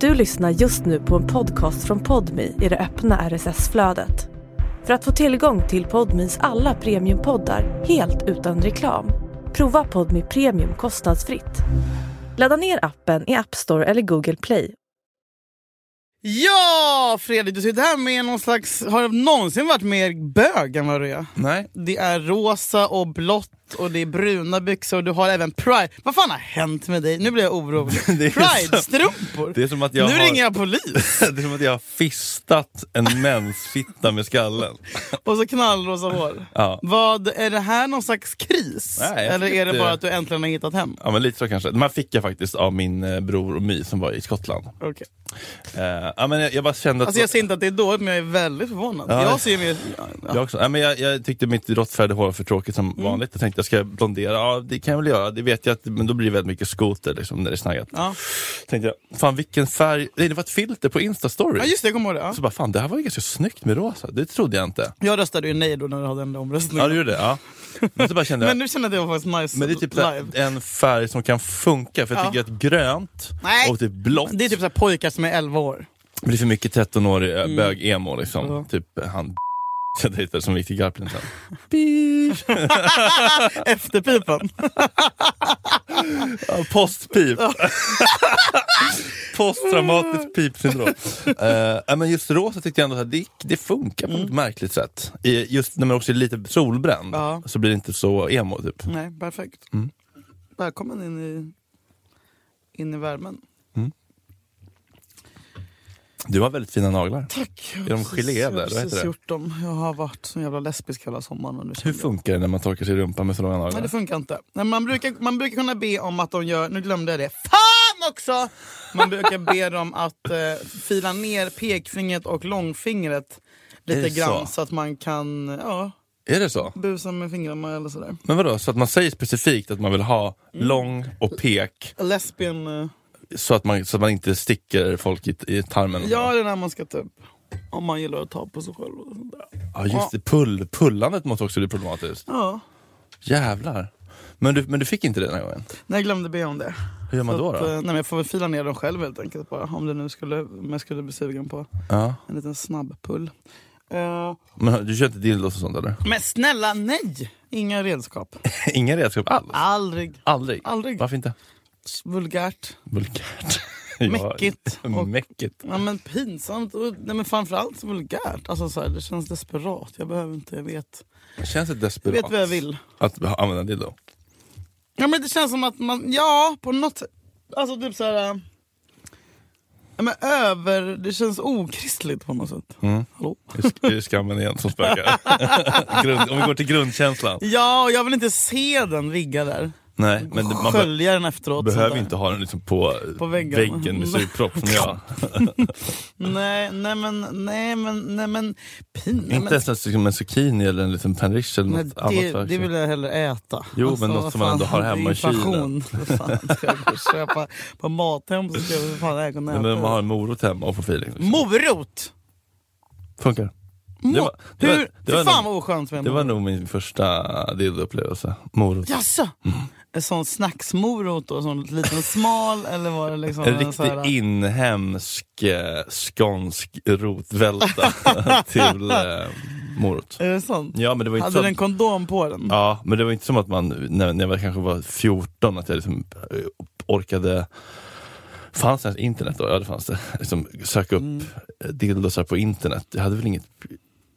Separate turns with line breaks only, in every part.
Du lyssnar just nu på en podcast från Podmi i det öppna RSS-flödet. För att få tillgång till Podmis alla premiumpoddar helt utan reklam, prova Podmi Premium kostnadsfritt. Ladda ner appen i App Store eller Google Play.
Ja, Fredrik, du sitter här med någon slags... Har du någonsin varit mer bög än vad du är?
Nej.
Det är rosa och blått och det är bruna byxor och du har även pride. Vad fan har hänt med dig? Nu blir jag orolig.
Det är
Pride-strumpor?
Det är som att jag
nu
har-
ringer jag polis.
Det är som att jag har fistat en mensfitta med skallen.
Och så knallrosa hår.
Ja.
Vad, är det här någon slags kris?
Nej, jag
Eller
tycker
är det
inte-
bara att du äntligen har hittat hem?
Ja, men lite så kanske. De här fick jag faktiskt av min eh, bror och My som var i Skottland.
Okay.
Eh, ja, men jag, jag bara kände att...
Alltså jag ser inte att det är dåligt men jag är väldigt förvånad.
Ja.
Jag ser mer... Ja, ja.
Jag, också. Nej, men jag, jag tyckte mitt råttfärgade hår var för tråkigt som
Mm.
vanligt. Jag tänkte jag ska blondera. Ja, det kan jag väl göra. Det vet jag att, men då blir det väldigt mycket skoter liksom, när det är snaggat.
Ja.
Tänkte jag, fan vilken färg. Nej, det var ett filter på Insta-story.
ja just det, jag kommer ihåg det. Ja.
Så bara, fan det här var ju ganska snyggt med rosa. Det trodde jag inte.
Jag röstade ju nej då när du hade den där omröstningen.
Ja, du gjorde det. Ja. Men så bara kände jag,
Men nu känner jag att det var faktiskt nice
Men det är typ
live.
såhär, en färg som kan funka, för jag
Ja.
tycker att grönt
Nej.
och typ blått
Det är typ så här pojkar som är 11 år.
det blir för mycket 13-årig
Mm.
mm. bög-emo liksom.
Ja.
Typ eh, han jag dejtar som Viktor Garplind sen.
Efterpipan.
Ja, Postpip. Posttraumatiskt pipsyndrom. Uh, men just rosa tyckte jag ändå att det, det funkar på
Mm.
ett märkligt sätt. I, just när man också är lite solbränd
Ja.
så blir det inte så emo typ.
Nej, perfekt.
Mm.
Välkommen in i, in i värmen.
Du har väldigt fina naglar.
Tack.
Är de geléer där?
Jag har
Vad heter
precis
det?
gjort dem. Jag har varit så jävla lesbisk hela sommaren. Och nu
Hur
känner jag-
funkar det när man torkar sig i rumpan med så långa naglar?
Nej, det funkar inte. Nej, man, brukar, man brukar kunna be om att de gör... Nu glömde jag det. Fan också! Man brukar be dem att eh, fila ner pekfingret och långfingret
Är
lite
det
grann
så?
så att man kan ja,
Är det så?
busa med fingrarna eller sådär.
Men vadå, så att man säger specifikt att man vill ha
Mm.
lång och pek
Lesbian... Eh,
så att man, så att man inte sticker folk i, i tarmen? och så?
Ja, det är när man ska typ... Om man gillar att ta på sig själv och sånt där.
ja just det. Pull, pullandet måste också bli problematiskt.
Ja.
Jävlar. Men du, men du fick inte det den här gången?
Nej, jag glömde be om det.
Hur gör man
Så
då?
att, eh,
då?
nej, men jag får väl fila ner dem själv helt enkelt bara. Om det nu skulle, om jag skulle bli sugen på
Ja.
en liten snabbpull. Eh,
Men du kör inte dildos och sånt eller?
men snälla nej! Inga redskap.
Inga redskap alls?
Ah. Aldrig.
Aldrig?
Aldrig.
Varför inte?
Vulgärt.
Vulgärt. Ja, Mm.
Mäckigt och-
Mäckigt.
Ja, men pinsamt. Och, nej, men framförallt vulgärt. Alltså, så här, det känns desperat. Jag behöver inte, jag vet.
Känns det
Jag
desperat?
vet vad jag vill.
Att använda dildo?
Ja men det känns som att man, ja på något sätt. Alltså typ såhär. äh, Ja, men över, det känns okristligt på något sätt.
Mm.
Hallå?
Det är sk- Det är skammen igen som spökar. Grund, om vi går till grundkänslan.
Ja, och jag vill inte se den ligga där.
Nej, men det, man, be-
Skölja den efteråt.
behöver
sådär.
inte ha den liksom på,
På väggen.
väggen. med sugpropp som jag.
Nej, nej men, nej men, nej men. Pin, nej,
Inte ens en- liksom en zucchini eller en liten panrish eller
men,
något annat.
nej, det,
verkligen.
det vill jag hellre äta. Alltså,
Jo, men något
vad
som man ändå har hemma i kylen.
inflation. Vad fan ska jag gå och köpa på Mathem så ska jag för fan äga kunna
Men
äta.
om man har
det.
en morot hemma och får feeling. Liksom.
Morot!
Funkar.
Mo-
Det var- det var-
Hur?
det var
Fy fan
nog-
vad oskönt med en
Det var
morot.
nog min första dildoupplevelse. Morot.
Jaså?
Mm.
En sån snacksmorot och sån liten smal eller var det liksom
En
sån här-
riktig inhemsk eh, skånsk rotvälta till eh, morot.
Är det sant?
Ja men, det var inte
Hade
så
den
att,
kondom på den?
ja, men det var inte som att man, när, när jag var- kanske var 14, att jag liksom eh, orkade Fanns det ens internet då? Ja det fanns det. Liksom, söka upp
Mm.
eh, dildosar på internet. Jag hade väl inget...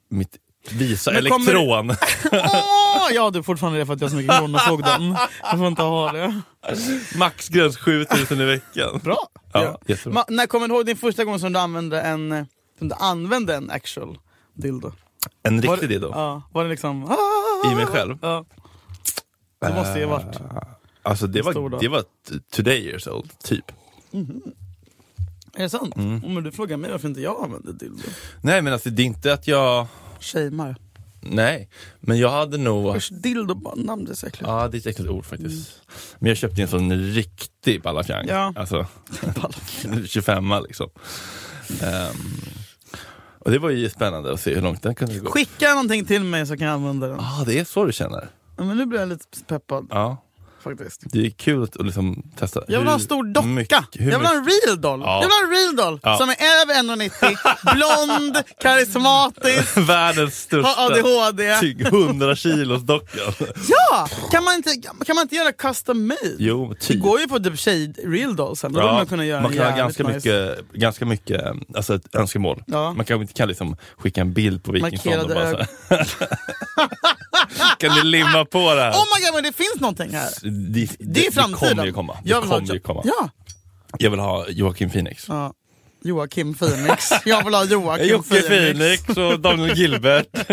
Mitt Visa
Men kommer-
elektron!
Åh! Ja du fortfarande det för att jag har så mycket kronofogden. Jag får inte ha det.
Maxgräns 7000 i veckan.
Bra!
Ja, jättebra.
Ma- när kommer du ihåg din första gång som du använde en, som du använde en actual dildo? Var-
En riktig dildo
Ja, var det liksom...
i mig själv.
Ja. Det måste ju ha varit.
Alltså det
stor då?
var, det var t- today years old, typ.
Är det sant?
Mm.
Om du frågar mig varför inte jag använder dildo.
Nej men alltså det är inte att jag...
Shamear.
Nej. Men jag hade nog...
Usch, dildo bara namn, det är så äckligt.
Ja, det är ett äckligt ord faktiskt. Men jag köpte en sån riktig ballafjang.
Mm. Ja.
Alltså, 25 liksom. Ehm, och det var ju spännande att se hur långt den kunde gå.
Skicka någonting till mig så kan jag använda den.
Ja, ah, det är så du känner?
Ja, Men nu blir jag lite peppad.
Ja.
faktiskt.
Det är kul att att liksom testa.
Jag vill ha en
Hur
stor docka.
mycket- hur
jag vill ha
mycket-
en real doll.
Ja.
Jag vill ha en real doll
Ja.
som är över 1,90, blond, karismatisk,
Världens största
har ADHD.
tyg- 100 kilos dockan.
Ja! Kan man inte, kan man inte göra custom made?
Jo,
Det
typ.
går ju på typ tjej real dolls sen. Då borde man kunna göra
man kan ha
jävligt
ganska mycket, ganska mycket um, alltså ett önskemål.
Ja.
Man kanske inte kan liksom skicka en bild på Vikingstånd och
Markerade
bara så här. Kan ni limma på det här?
Oh my god, men det finns någonting här!
det, det,
Det är framtiden.
kommer ju komma. Det
Jag vill ha
kommer ju komma.
Ja.
Jag vill ha Joakim Phoenix. Eh,
ja. Joakim Phoenix. Jag vill ha Joakim
Jocke
Phoenix.
Phoenix och Daniel Gilbert.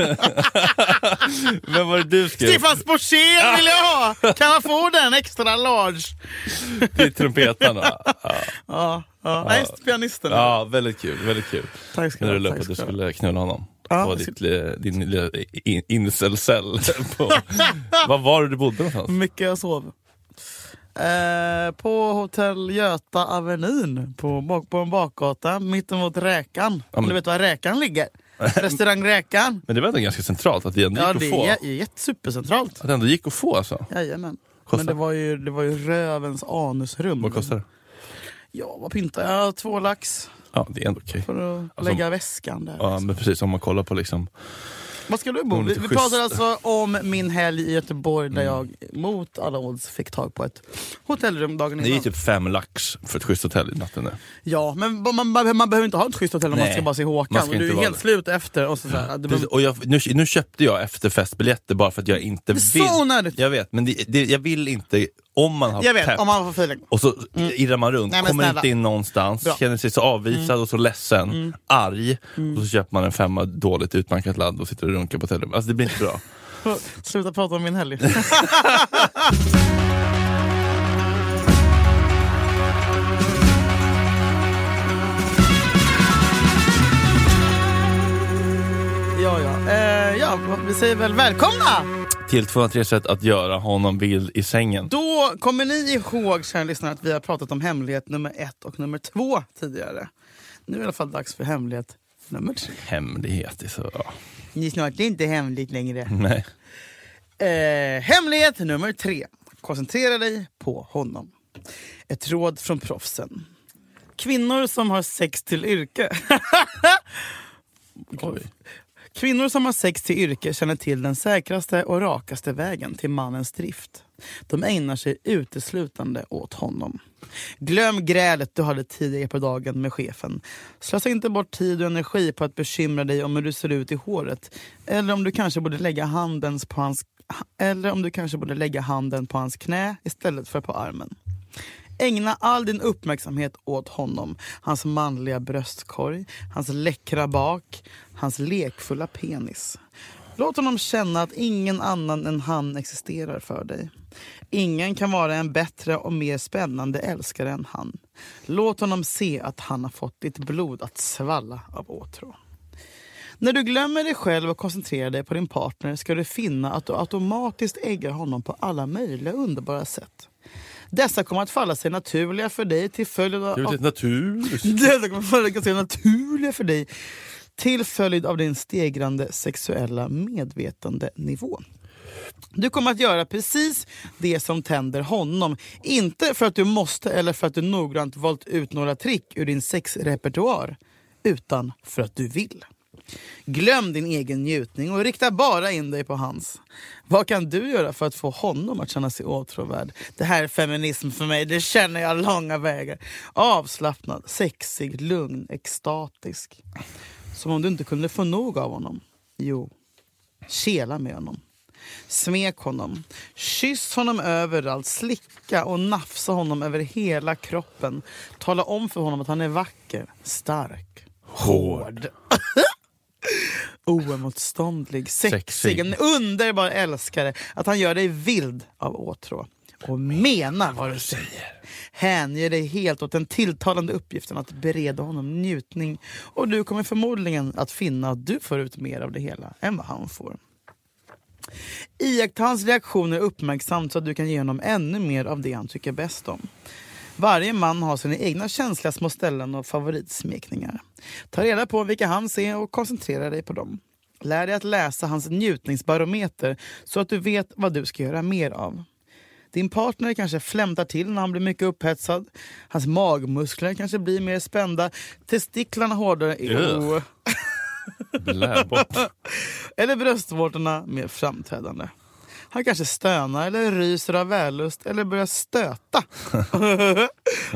Vem var det du skrev?
Stefan Sporsén vill jag ha! Kan man få den extra large?
Det är trumpetarna. Ja.
Ja, ja. Nej, pianisten.
ja, väldigt kul. Väldigt kul.
Tack ska
När
du
du
ha. tack
löp att du
ska du ha.
skulle knulla honom.
Ja,
det var
jag
ditt, li- din lilla in- incel-cell. På. Vad var det du bodde någonstans?
mycket jag sov. Eh, på hotell Göta Avenyn på, bak- på en bakgata mittemot Räkan.
men-
Du vet var Räkan ligger? Restaurang Räkan.
Men det var ändå ganska centralt att det ändå
Ja,
gick
det
att få.
är jä- jätte- supercentralt.
Att det ändå gick att få alltså.
Jajamän.
Kostar?
Men det var, ju, det var ju rövens anusrum.
Vad kostar det?
Ja, vad pyntar jag? Två lax
Ja, det är ändå okej.
för att
Alltså,
lägga väskan där.
Ja, men precis. Om man kollar på liksom...
Vad ska du bo?
Hon är
Vi,
lite
vi
schysst. Mm.
pratar alltså om min helg i Göteborg där jag mot alla odds fick tag på ett hotellrum dagen innan.
Det är typ fem lax för ett schysst hotell i natten nu.
Ja, men man, man, man behöver inte ha ett schysst hotell om
Nej.
man ska bara se
Man
Håkan.
ska
Och du
inte
är
vara
helt
det.
slut efter. Och så, så här, det
Precis,
behöver-
och jag, nu, nu köpte jag efterfestbiljetter bara för att jag inte
Det är så
vill.
onödigt.
Jag vet, men det, det, jag vill inte, om man har
jag vet,
pepp,
om man får feeling.
och så irrar man runt,
Mm. Nej, men
kommer
snälla.
inte in någonstans,
Bra. Mm.
känner sig så avvisad och så ledsen, arg. Och så köper man en femma dåligt utmankat ladd och sitter och runkar på hotellrummet. Alltså det blir inte bra.
Sluta prata om min helg. Ja, ja. Eh, ja, vi säger väl välkomna!
Till 203 sätt att göra honom vild i sängen.
Då kommer ni ihåg, kära lyssnare, att vi har pratat om hemlighet nummer ett och nummer två tidigare. Nu är det i alla fall dags för hemlighet nummer tre.
Hemlighet, det är så... Ja.
Ni är snart inte hemligt längre.
Nej.
Eh, hemlighet nummer tre. Koncentrera dig på honom. Ett råd från proffsen. Kvinnor som har sex till yrke.
Oj.
Kvinnor som har sex till yrke känner till den säkraste och rakaste vägen till mannens drift. De ägnar sig uteslutande åt honom. Glöm grälet du hade tidigare på dagen med chefen. Slösa inte bort tid och energi på att bekymra dig om hur du ser ut i håret. Eller om du kanske borde lägga handens på hans, eller om du kanske borde lägga handen på hans knä istället för på armen. Ägna all din uppmärksamhet åt honom. Hans manliga bröstkorg, hans läckra bak, hans lekfulla penis. Låt honom känna att ingen annan än han existerar för dig. Ingen kan vara en bättre och mer spännande älskare än han. Låt honom se att han har fått ditt blod att svalla av åtrå. När du glömmer dig själv och koncentrerar dig på din partner ska du finna att du automatiskt äggar honom på alla möjliga underbara sätt. Dessa kommer att falla sig naturliga för dig till följd av...
Det är väl typ lite natur.
Detta kommer följa sig naturliga för dig till följd av din stegrande sexuella medvetandenivå. Du kommer att göra precis det som tänder honom. Inte för att du måste eller för att du noggrant valt ut några trick ur din sexrepertoar. Utan för att du vill. Glöm din egen njutning och rikta bara in dig på hans. Vad kan du göra för att få honom att känna sig åtråvärd? Det här är feminism för mig, det känner jag långa vägar. Avslappnad, sexig, lugn, extatisk. Som om du inte kunde få nog av honom. Jo, kela med honom. Smek honom. Kyss honom överallt. Slicka och nafsa honom över hela kroppen. Tala om för honom att han är vacker, stark, hård. Oemotståndlig, sexig,
Sexig.
en underbar älskare. Att han gör dig vild av åtrå. Och mena vad du säger. Hänger dig helt åt den tilltalande uppgiften att bereda honom njutning. Och du kommer förmodligen att finna att du får ut mer av det hela än vad han får. Iaktta hans reaktioner uppmärksamt så att du kan ge honom ännu mer av det han tycker bäst om. Varje man har sina egna känsliga små ställen och favoritsmekningar. Ta reda på vilka han ser och koncentrera dig på dem. Lär dig att läsa hans njutningsbarometer så att du vet vad du ska göra mer av. Din partner kanske flämtar till när han blir mycket upphetsad. Hans magmuskler kanske blir mer spända. Testiklarna hårdare.
Ugh.
Oh.
Bläbot.
Eller bröstvårtorna mer framträdande. Han kanske stönar eller ryser av vällust eller börjar stöta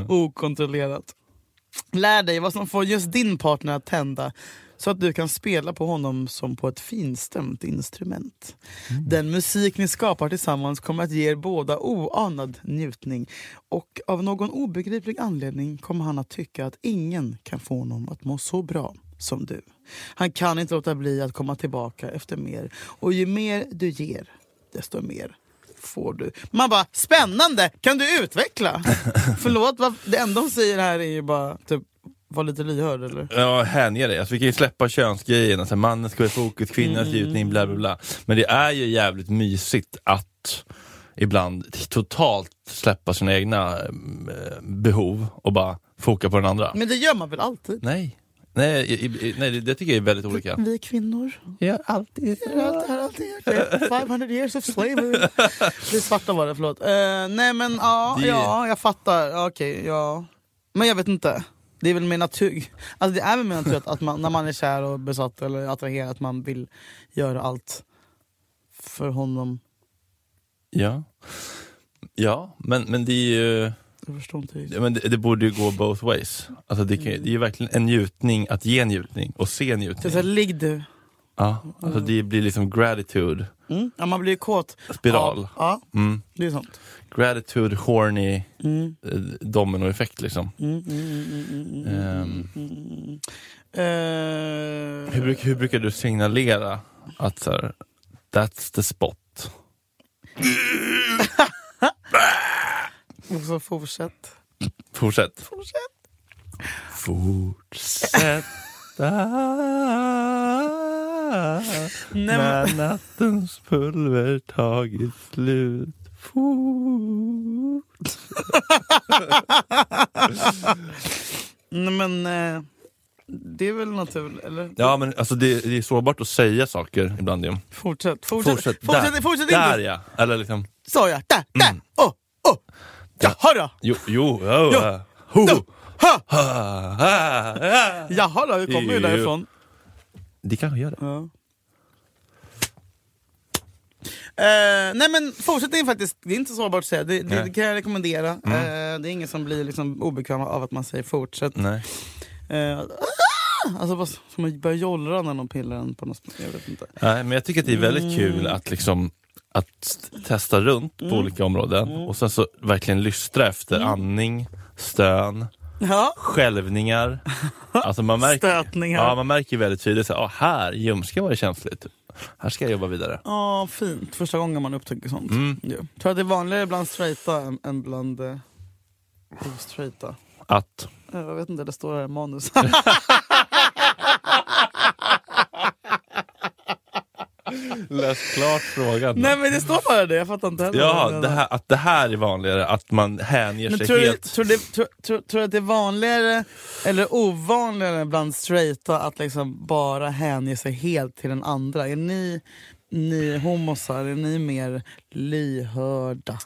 okontrollerat. Lär dig vad som får just din partner att tända så att du kan spela på honom som på ett finstämt instrument. Den musik ni skapar tillsammans kommer att ge er båda oanad njutning och av någon obegriplig anledning kommer han att tycka att ingen kan få honom att må så bra som du. Han kan inte låta bli att komma tillbaka efter mer och ju mer du ger, desto mer får du. Man bara, spännande! Kan du utveckla? Förlåt, vad, det enda hon säger här är ju bara typ, var lite lyhörd eller?
Ja, hänge dig. Alltså, vi kan ju släppa könsgrejen, alltså, mannen ska vara i fokus, kvinnans njutning, bla bla bla. Men det är ju jävligt mysigt att ibland totalt släppa sina egna eh, behov och bara foka på den andra.
Men det gör man väl alltid?
Nej. Nej, i, i, nej det, det tycker jag är väldigt olika.
Vi kvinnor
Ja, alltid.
har Mm, alltid, har alltid gjort det. 500 years of slavery. Det svarta var det, förlåt. Eh, nej men ja,
Det-
ja jag fattar. Okej, ja. Men jag vet inte. Det är väl min natur. Alltså det är väl min natur att, att man, när man är kär och besatt eller attraherad att man vill göra allt för honom.
Ja, ja men, men det är ju...
Jag förstår inte riktigt.
Ja, Men det, det borde ju gå both ways. Alltså det, kan, ju- det är ju verkligen en njutning att ge njutning och se
Det är så här,
njutning.
ligg du.
Ja, alltså det blir liksom gratitude,
Mm? Ja, man blir ju kåt.
spiral.
Ja, ja
Mm.
det är sant.
Gratitude, horny,
Mm.
eh, dominoeffekt liksom.
Mm, mm, mm, mm, mm,
Ehm.
mm, mm. Eh,
Hur, bruk, hur brukar du signalera att så här, that's the spot?
Och så fortsätt.
Fortsätt.
Fortsätt.
Fortsätta när nattens pulver tagit slut Fort.
Nej men eh, det är väl naturligt, eller?
Ja men alltså det, det är sårbart att säga saker ibland ju.
Fortsätt, fortsätt,
Fortsätt,
fortsätt,
där,
fortsätt
där
inte!
ja! Eller liksom,
Sa jag, där, där, åh, åh!
Där.
Jaha då!
jo, jo, jo,
Jo.
ja. Ho.
Då. Ha.
Ha, ha, ha.
Jaha då, vi kommer ju
Jo.
därifrån.
Det kanske gör det.
Ja. Eh, nej men fortsättning faktiskt, det är inte sårbart att säga. Det, det,
Nej. Mm.
det kan jag rekommendera. Eh, det är ingen som blir liksom obekväm av att man säger fortsätt.
Nej.
Eh, alltså bara som att börja jollra när någon pillar en på något Jag vet inte.
Nej, men jag tycker att det är
Mm.
väldigt kul att liksom att testa runt
Mm.
på olika områden och sen så verkligen lystra efter andning, stön,
Ja,
skälvningar. Alltså man märker,
stötningar.
ja, man märker ju väldigt tydligt att ah, här i ljumsken var det känsligt. Här ska jag jobba vidare.
Ja, fint. Första gången man upptäcker sånt.
Mm.
Ja. Tror att det är vanligare bland straighta än, än bland eh, ostraighta.
Att,
Eh, Jag vet inte, det står här i manus.
läs klart frågan.
Nej men det står bara det, jag fattar inte heller. vad
ja,
jag
det
menar.
här, att det här är vanligare, att man hänger
Men
sig
tror du,
helt.
tror, du, tror, tror, tror du att det är vanligare eller ovanligare bland straighta att liksom bara hänge sig helt till den andra? Är ni, ni homosar, är ni mer lyhörda?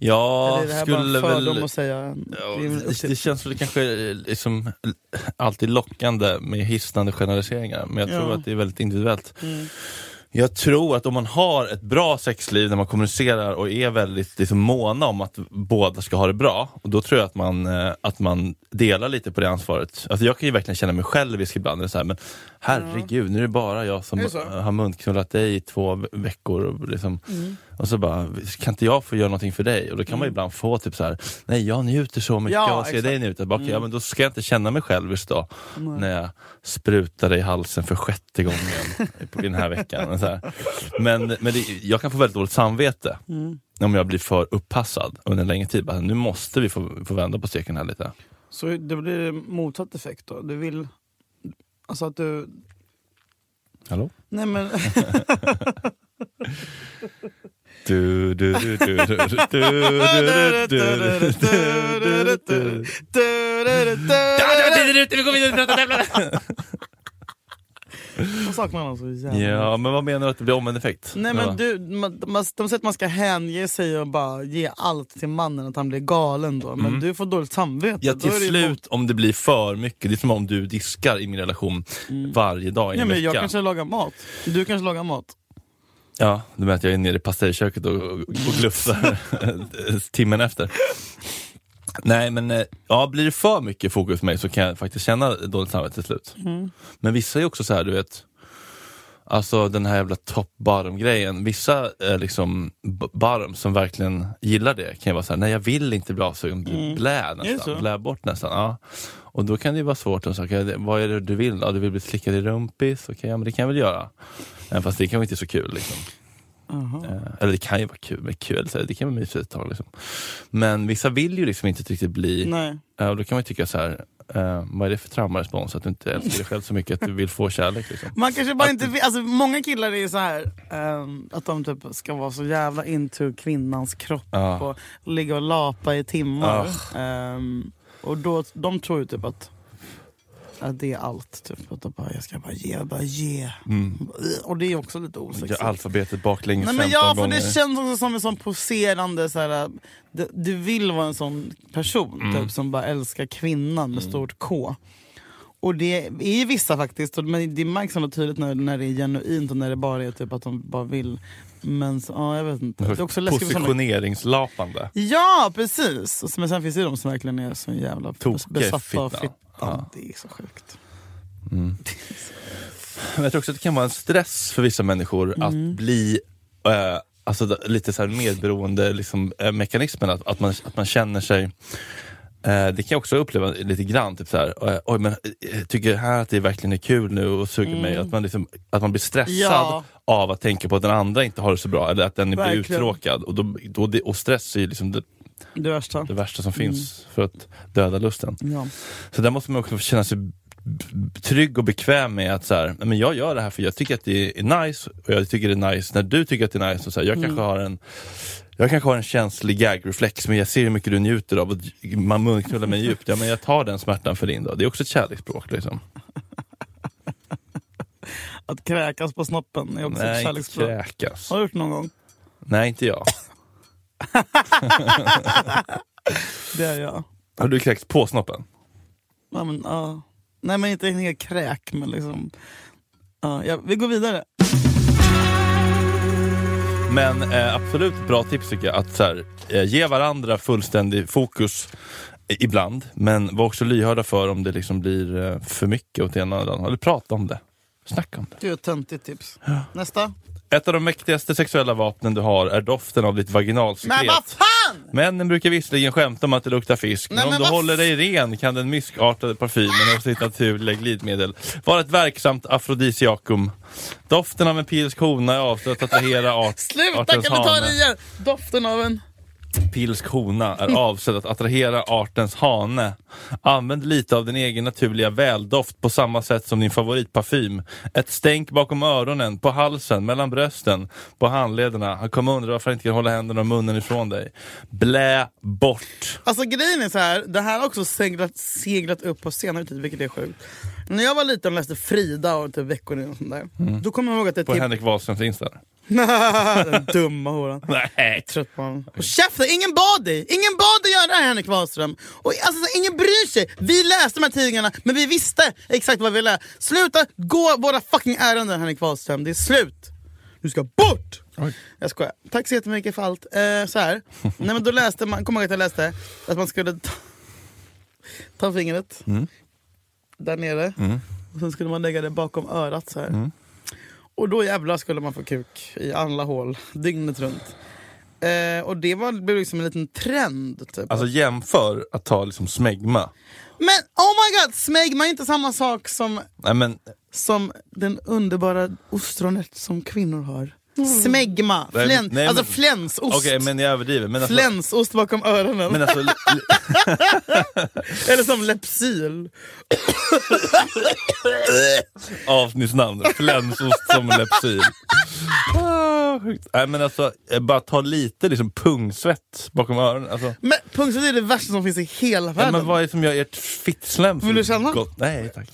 Ja,
eller är det här
skulle
bara en fördom
väl...
att säga?
Ja,
Det är väl upp
det,
till-
det känns väl kanske eh, liksom l- alltid lockande med hisnande generaliseringar, men jag tror
Ja.
att det är väldigt individuellt.
Mm.
Jag tror att om man har ett bra sexliv när man kommunicerar och är väldigt liksom, måna om att båda ska ha det bra, och då tror jag att man, eh, att man delar lite på det ansvaret. Alltså, jag kan ju verkligen känna mig självisk ibland, eller så här, men herregud, nu är det bara jag som
Är det så?
eh, har munknullat dig i två ve- veckor. Och liksom,
Mm.
och så bara, kan inte jag få göra någonting för dig? Och då kan man ibland få typ så här, nej jag njuter så mycket
Ja,
av att se
exakt. Mm.
dig njuta. Bara, okej, ja, men då ska jag inte känna mig självisk då, när jag sprutar dig i halsen för sjätte gången i den här veckan. Och Så här. Men, men det, jag kan få väldigt dåligt samvete
Mm.
om jag blir för upppassad under en längre tid. Bara, nu måste vi få, få vända på steken här lite.
Så det blir motsatt effekt då? Du vill... Alltså att du...
Hallå?
Nej men...
Du, du, du, du, du, du, du, du, du, du, du.
Du-du-du-du-du-du-du-du-du-du-du-du. Man saknar honom så jävla
Ja, men vad menar du att det blir omvänd effekt?
Nej
Ja.
men du, man, man, de säger att man ska hänge sig och bara ge allt till mannen, att han blir galen då. Men
Mm.
du får dåligt samvete.
Ja,
Då
till
är det ju
slut om det blir för mycket. Det är som om du diskar i min relation varje
Ja,
dag i en
Mm. men
vecka.
jag kanske lagar mat. Du kanske lagar mat.
Ja, du menar att jag är nere i pastejköket och, och, och glufsar timmen efter. Nej men, eh, ja blir det för mycket fokus på mig så kan jag faktiskt känna dåligt samvete till slut.
Mm.
Men vissa är också så här, du vet, alltså den här jävla top bottom grejen. Vissa eh, liksom b- bottom som verkligen gillar det kan ju vä- vara så här, nej jag vill inte bli avsugen, mm. blä
Är det så?
nästan, blä bort nästan. Ja. Och då kan det ju vara svårt att säga, okej, det- vad är det du vill? Ja, du vill bli slickad i rumpis? Okej, ja, men det kan jag väl göra. Även fast det kanske inte är så kul. Liksom.
Jaha.
Eh, Eller det kan ju vara kul, men kul, så här, det kan vara mysigt ett tag. Liksom. Men vissa vill ju liksom inte riktigt bli,
Nej.
eh, och då kan man ju tycka så här, eh, vad är det för traumarespons att du inte älskar dig själv så mycket att du vill få kärlek? Liksom.
Man kanske bara inte vill, alltså många killar är så här ehm, att de typ ska vara så jävla into kvinnans kropp
Ja.
och ligga och lapa i timmar.
Ah.
Ehm, och då, de tror ju typ att, att det är allt. Typ. Att de bara, jag ska bara ge, jag bara ge. Och det är också lite
mm. Gör
osexigt.
alfabetet baklänges
Nej,
15
men ja, för
gånger.
det känns också som en sån poserande, så här, du, du vill vara en sån person
Mm.
typ, som bara älskar kvinnan med stort K. Och det är ju vissa faktiskt, och- men det märks ändå tydligt när, när det är genuint och när det bara är typ att de bara vill. Men så, ja, jag vet inte. Det är också läskigt för såna.
Positioneringslapande.
Ja, precis! Och så- Men sen finns det ju de som verkligen är så jävla
Tokiga
besatta av
fitta.
fittan.
Ja.
Det är så sjukt.
Men jag tror också att det kan vara en stress för vissa människor
Mm.
att bli eh, alltså, d- lite så här medberoende liksom, eh, mekanismen att, att, man, att man känner sig eh, det kan jag också uppleva lite grann, typ så här, eh, oj men eh, tycker här att det verkligen är kul nu och suger mig, att man, liksom, att man blir stressad
Mm. Ja.
av att tänka på att den andra inte har det så bra eller att den blir
Verkligen.
uttråkad. Och, då, då det, och stress är ju liksom det,
Det värsta.
det värsta som
Mm.
finns för att döda lusten.
Ja.
Så där måste man också känna sig b- b- trygg och bekväm med att så här, "Nej, men jag gör det här för jag tycker att det är nice och jag tycker det är nice när du tycker att det är nice. Och så här, jag,
Mm.
kanske har en, jag kanske har en känslig gag-reflex men jag ser hur mycket du njuter av och d- man munknullar mig djupt. Ja, men jag tar den smärtan för din då. Det är också ett kärleksspråk. Liksom.
Att kräkas på snoppen är också ett
Nej, inte
kärleksspråk.
kräkas.
Har du gjort någon gång?
Nej, inte jag.
Det är jag.
Har du kräkts på snoppen?
Ja, men, ja. Nej men inte en hel kräk men liksom. Ja, ja, vi går vidare.
Men eh, absolut bra tips tycker jag. Att så här, eh, ge varandra fullständig fokus eh, ibland. Men var också lyhörda för om det liksom blir eh, för mycket åt ena eller andra. Eller prata om det. Snacka om det.
Det är ett töntigt tips. Nästa.
Ett av de mäktigaste sexuella vapnen du har är doften av ditt
Men vad
vaginalsekret.
fan!
Männen brukar visserligen skämta om att det luktar fisk,
Nej,
men om
men
du
vad
håller dig ren kan den myskartade parfymen och sitt naturliga glidmedel vara ett verksamt afrodisiakum. Doften av en pilsk hona är avsedd att attrahera art,
Sluta kan
artens
du ta
hane.
det igen? Doften av en...
pilsk hona är avsedd att attrahera artens hane. Använd lite av din egen naturliga väldoft på samma sätt som din favoritparfym. Ett stänk bakom öronen, på halsen, mellan brösten, på handlederna. Han kommer undra varför han inte kan hålla händerna och munnen ifrån dig. Blä bort!
Alltså grejen är så här, det här har också seglat, seglat upp på senare tid vilket är sjukt. När jag var liten och läste Frida och typ Veckorevyn och sånt där. Då kommer jag ihåg att det
På
tip-
Henrik Wahlströms Insta.
Den dumma horan.
Nej.
trött på honom. Och käften, ingen bad dig! Ingen bad dig göra det här Henrik Wahlström! Och alltså, så, ingen bryr sig! Vi läste de här tidningarna, men vi visste exakt vad vi ville. Sluta gå våra fucking ärenden Henrik Wahlström, det är slut! Du ska bort!
Oj.
Jag skojar. Tack så jättemycket för allt. Eh, så här. Nej, men då läste man, kom ihåg att jag läste att man skulle ta, ta fingret där nere
Mm.
och sen skulle man lägga det bakom örat så här. Och då jävlar skulle man få kuk i alla hål dygnet runt. Eh, och det var, blev liksom en liten trend. Typ.
Alltså jämför att ta liksom smegma.
men oh my god, smegma är inte samma sak som,
Nej men,
som den underbara ostronet som kvinnor har. Smegma,
Nej,
fläns,
nej,
alltså
men-
flänsost.
okej men jag överdriver. Men alltså,
Flänsost bakom öronen.
men alltså, li- li-
Eller som Lepsyl.
avsnittsnamn. Flänsost som lepsil. Ah, sjukt. Nej men alltså, eh, bara ta lite liksom pungsvett bakom öronen. Alltså,
Men pungsvett är det värsta som finns i hela
nej,
världen.
men vad är det som gör ert fittlem så
Vill du känna?
Gott? Nej tack.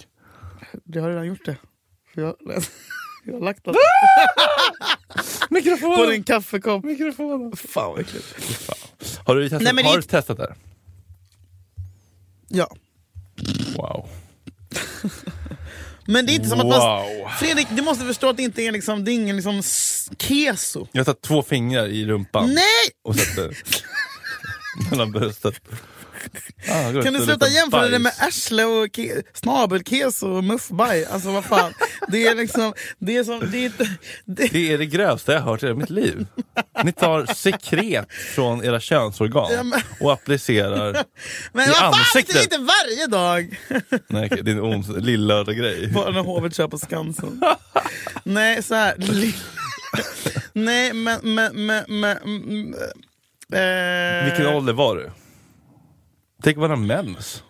Det har redan gjort det. För jag, jag har lagt allt på
Mikrofonen!
din kaffekopp.
Mikrofonen.
Fan vad äckligt.
Har du testat,
Nej, men det-
har du testat det här?
Ja.
Wow.
Men det är inte som att man...
wow.
Fredrik, du måste förstå att det inte är, liksom, det är ingen liksom s- keso.
Jag har satt två fingrar i rumpan
Nej!
och satte mellan bröstet. Ah, gott,
Kan
det
du
luktar
sluta jämföra det med
bajs.
arsle och ke- snabelkeso och muffbaj? Alltså vad fan. Det är liksom... Det är som... Det är, inte- det,
Det är det grövsta jag har hört i hela mitt liv. Ni tar sekret från era
Ja,
könsorgan
men-
och applicerar...
men
i
vad fan, det är
ansiktet.
inte varje dag!
Nej, okej, det är en ons- lill-lördag-grej.
Bara när hovet kör på Skansen. Nej, så här. li- Nej, men... men, men, men mm, eh,
Vilken ålder var du? Tänk om man har mens.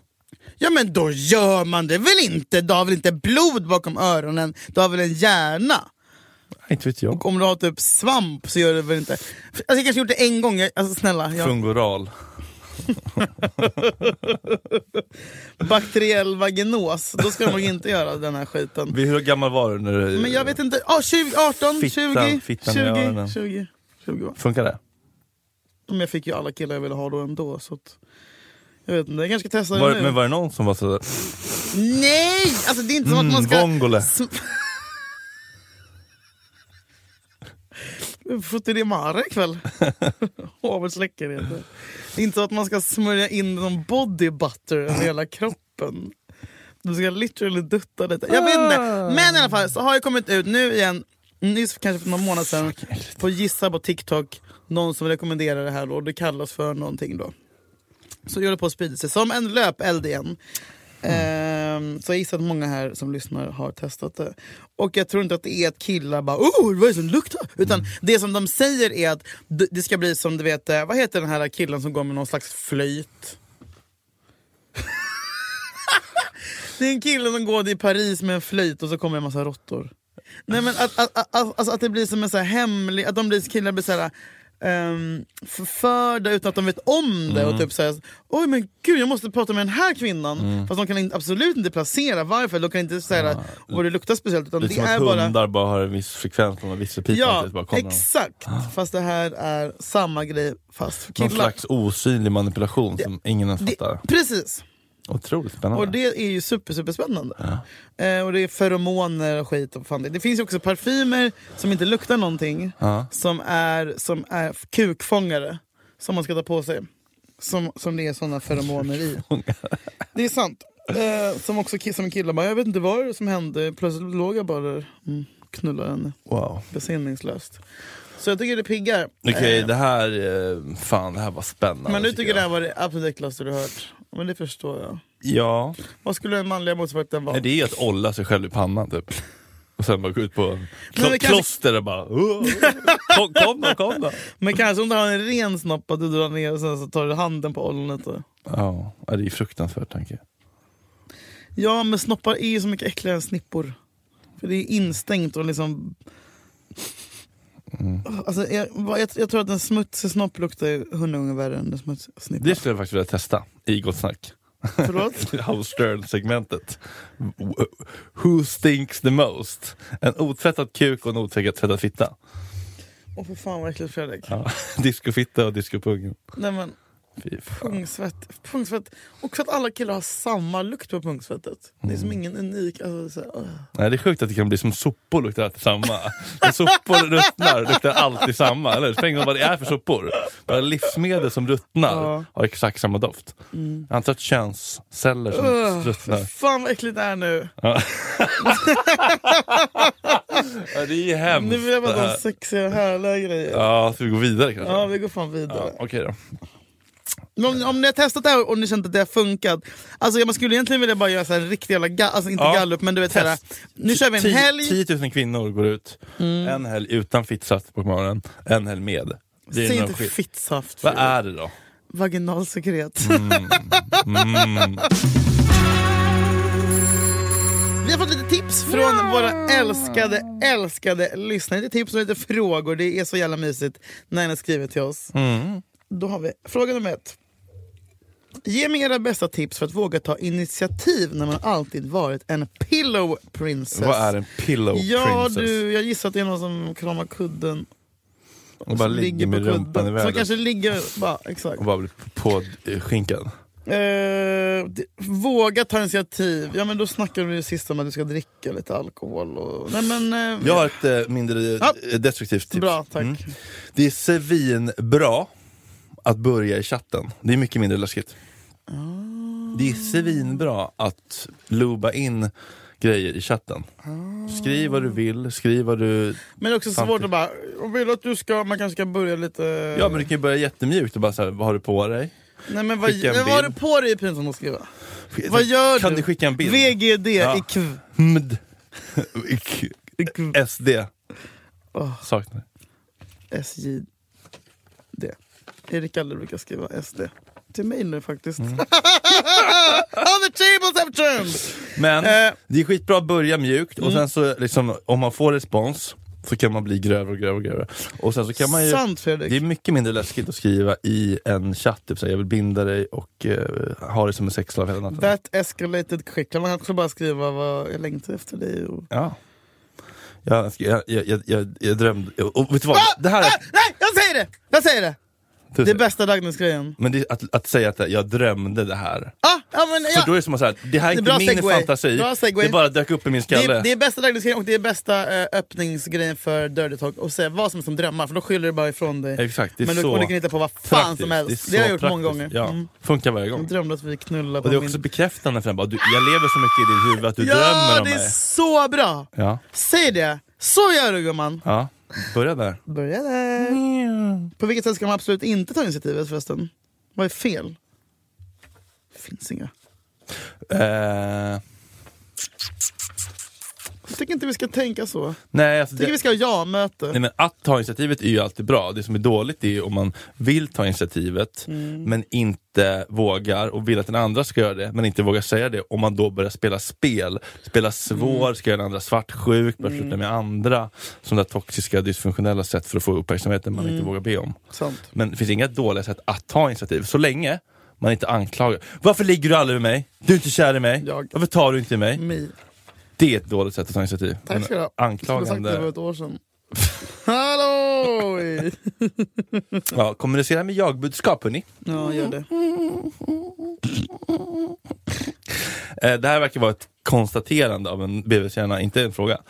Ja men då gör man det väl inte? Du har väl inte blod bakom öronen? Du har väl en hjärna?
Nej, Inte vet jag.
Och om du har typ svamp så gör du väl inte... Alltså jag kanske gjort det en gång, jag- alltså snälla. Jag,
Fungoral.
bakteriell vaginos, då ska man inte göra den här skiten.
Hur gammal var du när du...
Men jag vet inte, ah, 20, 18,
Fittan-
20,
fittan i
20,
öronen.
20, 20 va?
Funkar det?
Men jag fick ju alla killar jag ville ha då ändå så att... Jag vet inte, jag kanske ska testa det
Var,
nu.
men var det någon som var sådär...
Nej! Alltså det är inte som att man
Mm,
ska...
vongole.
Futtilimare ikväll. Havets läckerheter. Det är inte så att man ska smörja in någon body butter över hela kroppen. Du ska literally dutta lite. Jag vet inte. Men i alla fall så har jag kommit ut nu igen, nyss kanske för någon månad sedan, på Gissa på TikTok. Någon som rekommenderar det här då, och det kallas för någonting då. Så jag håller på att sprida sig som en löpeld igen. Ehm, så jag gissar att många här som lyssnar har testat det. Och jag tror inte att det är att killar bara oh, vad är det som luktar? Utan det som de säger är att d- det ska bli som du vet, eh, vad heter den här killen som går med någon slags flöjt? det är en kille som går i Paris med en flöjt och så kommer en massa råttor. Nej men att, att, att, att, alltså att det blir som en så här hemlig, att de blir, killar blir så här ehm, förförda utan att de vet om det.
Mm.
Och typ så här, oj men gud jag måste prata med den här kvinnan.
Mm.
Fast de kan in, absolut inte placera varför, de kan inte säga vad det luktar speciellt. Utan
Lite
det
som Liksom att
är bara...
hundar bara... har en viss frekvens på en viss repeat.
Ja,
Det bara kommer någon-
exakt. Fast det här är samma grej fast för
Någon
killar.
slags osynlig manipulation som ingen ens fattar.
Det, precis.
Otroligt spännande.
Och det är ju super, super spännande. Eh, och det är feromoner och skit. Och fan det. det finns ju också parfymer som inte luktar någonting.
Ja.
Som är, som är f- kukfångare. Som man ska ta på sig. Som, som det är såna feromoner i. Det är sant. Eh, som också ki- som killar bara, jag vet inte vad det som hände. Plötsligt låg jag bara där mm, knullade henne
Wow.
besinningslöst. Så jag tycker det piggar.
Okej,
Eh,
det här... eh, Fan, det här var spännande.
men du tycker det här
jag.
var det absolut äckligaste du hört. Men det förstår jag.
Ja.
Vad skulle den manliga motsvarigheten vara?
Nej, det är ju att olla sig själv i pannan typ. Och sen bara gå ut på en
Men
klo-
vi kanske-
kloster och bara... "Åh, Kom, kom då, kom då!
Men kanske om du har en ren snopp att du drar ner och sen så tar du handen på ollonet. och-
Ja, det är ju fruktansvärt tanke.
Ja men snoppar är ju så mycket äckligare än snippor. För det är instängt och liksom...
Mm.
Alltså, jag, vad- jag, jag tror att en smutsig snopp luktar ju hundra gånger värre än en smutsig snippa.
Det skulle jag faktiskt vilja testa i Gott Snack.
Förlåt?
Howard Stern-segmentet. Who stinks the most? En otvättad kuk och en otvättad fitta.
Åh för fan vad äckligt Fredrik.
Ja. Discofitta och discopungen.
Nej men
Fy fan.
pungsvett. pungsvett. Också att alla killar har samma lukt på pungsvettet. Det är som
Mm.
ingen unik... Alltså, så här, "Åh."
Nej, det är sjukt att det kan bli som sopor luktar alltid samma. När sopor ruttnar luktar alltid samma. Eller hur? Det spelar ingen roll vad det är för sopor. Bara livsmedel som ruttnar
Ja. Mm.
har exakt samma doft. Jag antar att könsceller som
Ugh,
ruttnar.
Fan vad äckligt det är nu.
Ja, det är
Nu vill jag
hemskt.
bara
det
ha
här.
sexiga härliga grejer.
Ja, ska vi gå vidare kanske?
Ja, vi går fan
Ja,
vidare.
Okej då.
Men Om, om ni har testat det här och ni känt att det har funkat. Alltså jag- man skulle egentligen vilja bara göra så här riktig jävla ga- alltså inte
Ja,
gallup men du vet såhär.
test.
Nu kör vi en helg. Mm.
10 000 kvinnor går ut, en helg utan fittsaft på morgonen, en helg med. Det
Säg
är någon
inte
skit.
fittsaft.
Vad
Fredrik.
är Mm, det då?
Vaginalsekret.
mm.
Vi har fått lite tips från våra älskade, älskade lyssnare. Lite tips och lite frågor. Det är så
Mm.
jävla mysigt när ni skriver till oss. Då har vi fråga nummer ett. Ge mig era bästa tips för att våga ta initiativ när man alltid varit en pillow princess.
Vad är en pillow
Ja
princess?
du, jag gissar att det är någon som kramar kudden.
Och bara
som
ligger med
på
rumpan i
kudden. Som
världen
kanske ligger, bara, exakt.
och bara blir på eh, skinkan.
Eh, d- våga ta initiativ. Ja men då snackar du ju sist om att du ska dricka lite alkohol och... Nej men... eh,
Jag har ett eh, mindre eh,
Ja.
destruktivt tips.
Bra, tack.
Mm. Det är svinbra att börja i chatten. Det är mycket mindre läskigt.
Ah.
Det är svinbra att loba in grejer i chatten. Skriv vad du vill, skriv vad du...
Men det är också svårt
Samtidigt.
att bara, jag vill att du ska, man kanske ska börja lite...
Ja men du kan ju börja jättemjukt och bara såhär, vad har du på dig?
Nej men vad,
skicka en
vad har du
bild.
på dig i pinsamt att skriva? Vad gör
kan
du?
du skicka en bild?
VGD
Ja.
i kv...
Md. SD.
Åh.
Saknar.
SJD. Erik Aller brukar skriva SD. Till mig nu faktiskt.
Mm.
On the tables have turned!
Men
Eh.
det är skitbra att börja mjukt
Mm.
och sen så liksom, om man får respons så kan man bli grövre och grövre och grövre. Och sen så kan man ju...
Sant Fredrik.
Det är mycket mindre läskigt att skriva i en chatt, typ såhär, jag vill binda dig och eh, ha dig som en sexslav hela natten.
That escalated quickly. Man kan också bara skriva vad jag längtar efter dig. Och...
Ja. Jag, jag, jag, jag, jag drömde, och vet du vad? Det här
Ah,
är,
nej, jag säger det! Jag säger det! Det är bästa Dagnus-grejen.
men det, är att, att säga att jag drömde det här.
Ah, ja, men, ja.
För då är det som att säga, det här
Det är
är inte
bra
min
segway.
fantasi,
Bra segway.
det bara dök upp i min
Det
skalle.
är, det är bästa Dagnus-grejen och det är bästa eh, öppningsgrejen för Dirty Talk. Att säga vad som helst om drömmar, för då skyller du bara ifrån dig.
Exakt, det är
Men du,
så
och du kan hitta på vad fan
praktiskt.
som
är
helst. Det,
så
har jag gjort många
praktiskt.
gånger.
Ja.
Mm.
Funkar varje gång.
Jag drömde att vi knullade på
Och det är
min...
också bekräftande för den, bara, du, jag lever så mycket i ditt huvud att du drömmer
ja,
om
det
mig.
är så bra!
Ja,
Säg det! Så gör du gumman!
ja, börja där.
Börja där.
Mm.
På vilket sätt ska man absolut inte ta initiativet förresten? Vad är fel? Finns inga.
Eh,
Jag tycker inte vi ska tänka så. Jag
nej, alltså,
tycker
det-
vi ska ha ja-möte.
Nej, men att ta initiativet är ju alltid bra. Det som är dåligt är ju om man vill ta initiativet
Mm.
men inte vågar och vill att den andra ska göra det men inte vågar säga det. Om man då börjar spela spel,
Mm.
spela svår, ska göra den andra svartsjuk, börjar flytta med andra. Sådana där toxiska dysfunktionella sätt för att få uppmärksamheten man
Mm.
inte vågar be om.
Sant.
Men det finns inga dåliga sätt att ta initiativ så länge man inte anklagar. Varför ligger du aldrig med mig? Du är inte kär i mig.
Jag.
Varför tar du inte i mig?
Mi.
Det är ett dåligt sätt att ta initiativ.
Tack ska du ha. Skulle sagt det för
Anklagande.
ett år sedan. Hallå!
Ja, kommunicera med jag-budskap hörni.
Ja, gör det.
Eh, Det här verkar vara ett konstaterande av en BVC-hjärna, inte en fråga.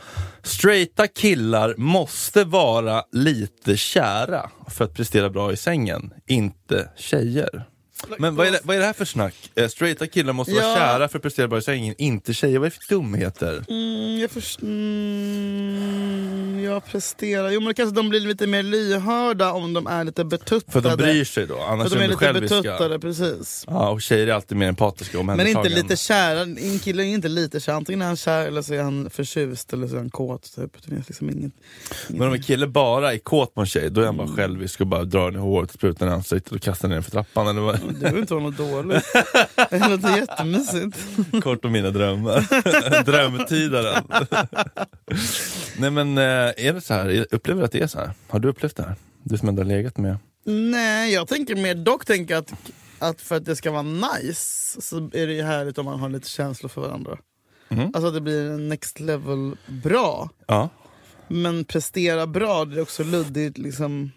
Straighta killar måste vara lite kära för att prestera bra i sängen, inte tjejer. Men vad är, det, vad är det här för snack? Eh, Straighta killar måste
Ja.
vara kära för att prestera bra i sängen, inte tjejer. Vad är det för dumheter?
Mm, jag förstår... Mm, jag presterar. Jo, men kanske de blir lite mer lyhörda om de är lite
För
betuttade.
de bryr sig då, annars
För de
är
är
de
lite
själviska.
betuttade, precis.
Ja, och tjejer är alltid mer empatiska och
Men inte lite kära. En kille är inte lite kär. Antingen är han kär eller så är han förtjust eller så är han kåt. Typ. Det finns liksom inget.
Men om en kille bara är kåt på en tjej, då är han
Mm.
bara självisk och bara drar den i håret, sprutar den i ansiktet och kastar den för trappan. Eller vad?
Det behöver inte vara något dåligt. Det låter jättemysigt.
Kort om mina drömmar. Drömtidaren. Nej men eh, är det så här? Upplever du att det är så här? Har du upplevt det här? Du som ändå har legat med...
Nej, jag tänker mer dock tänker att, att för att det ska vara nice så är det ju härligt om man har lite känslor för varandra.
Mhm.
Alltså att det blir en next level bra.
Ja.
Men prestera bra, det är också luddigt. Liksom.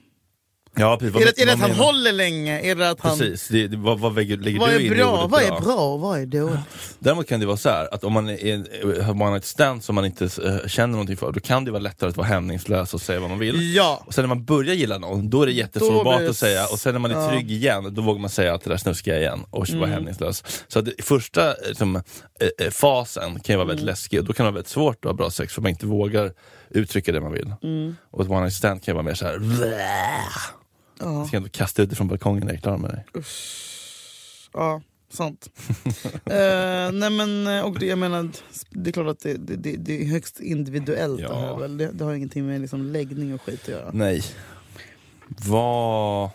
Ja, precis. Vad-
Är det, är det
vad
att han
menar-
håller länge? Är det att han...
Precis, det, det, vad, vad väger, lägger
Vad
du in
är
i
bra?
ordet
Vad är bra och vad är dåligt?
Däremot kan det vara så här att om man är- har one night stand som man inte eh, känner någonting för, då kan det vara lättare att vara hämningslös och säga vad man vill.
Ja.
Och sen när man börjar gilla någon, då är det
Då
jättesårbart
blir det
att säga och sen när man är
ja. Mm.
trygg igen, då vågar man säga att det där snuskar jag igen och vara hämningslös. Så att det, första liksom, eh, eh, fasen kan ju vara väldigt
Mm.
läskig och då kan det vara väldigt svårt att ha bra sex för man inte vågar uttrycka det man vill.
Mm.
Och ett one night stand kan ju vara mer såhär,
Ja.
jag ska ändå kasta ut dig från balkongen när jag är klar med dig.
Ja, sant. Eh, nej men, eh, och det, jag menar, det är klart att det, det, det, det är högst individuellt det här
Ja.
väl. Det, det har ingenting med liksom läggning och skit att göra.
Nej. Vad,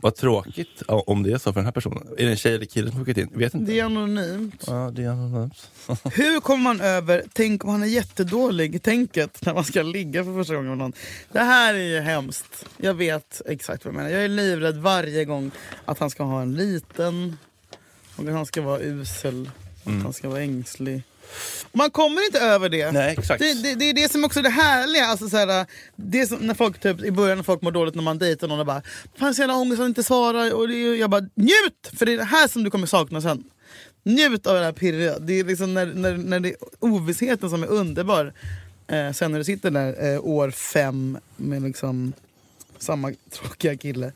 vad tråkigt ja, om det är så för den här personen. Är det en tjej eller kille som skickat in? Vet inte.
Det är anonymt.
Ja, det är anonymt.
Hur kommer man över, tänk om han är jättedålig, tänket när man ska ligga för första gången med någon. Det här är ju hemskt. Jag vet exakt vad jag menar. Jag är livrädd varje gång att han ska ha en liten Och att han ska vara usel. och
Mm.
Att han ska vara ängslig. Och man kommer inte över det.
Nej, exakt.
Det, det, det är det som också är det härliga. Alltså, så här, det är som när folk typ, i början när folk mår dåligt när man dejtar någon och bara Fan så jävla ångest att inte svara. Och det, är ju- jag bara njut! För det är det här som du kommer sakna sen. Njut av det här pirriga. Det är liksom när, när, när det är ovissheten som är underbar. Eh, sen när du sitter där eh, år fem med liksom samma tråkiga kille.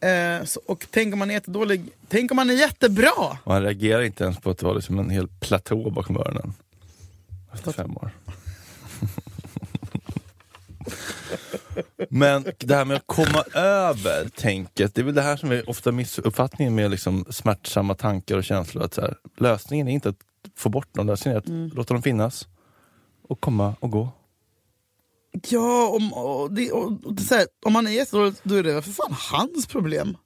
Eh, så, och tänk om man är jättedålig. Tänk om man är jättebra!
Och han reagerar inte ens på att det var liksom en hel platå bakom öronen. Efter fem år. Men det här med att komma över tänket, det är väl det här som är ofta missuppfattningen med liksom smärtsamma tankar och känslor. Att så här, lösningen är inte att få bort dem, lösningen är att
Mm.
låta dem finnas och komma och gå.
Ja, om, och det, och, och det, är så här, om han är jättedålig då är det för fan hans problem.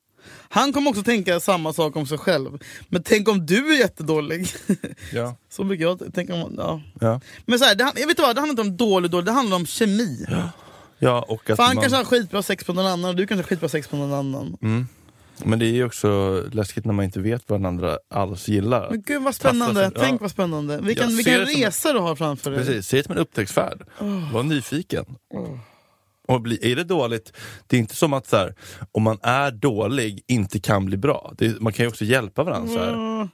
Han kommer också tänka samma sak om sig själv. Men tänk om du är jättedålig.
Ja.
så brukar jag tänka. Om, ja.
Ja.
Men så här, det, han- jag vet inte vad, det handlar inte om dålig dålig, det handlar om kemi.
ja, och att
För han
man... Mm.
kanske har skitbra sex på någon annan och du kanske har skitbra sex på någon annan.
Men det är ju också läskigt när man inte vet vad den andra alls gillar.
Men gud vad spännande,
Tassar sig- ja.
tänk vad spännande. Vilken,
Jag
vilken
ser det som-
resa du har framför dig.
Precis, se det som en upptäcktsfärd.
Oh.
Var nyfiken.
Mm.
Och bli, är det dåligt, det är inte som att så här, om man är dålig inte kan bli bra. Det, är- man kan ju också hjälpa varandra. Så här.
Ja.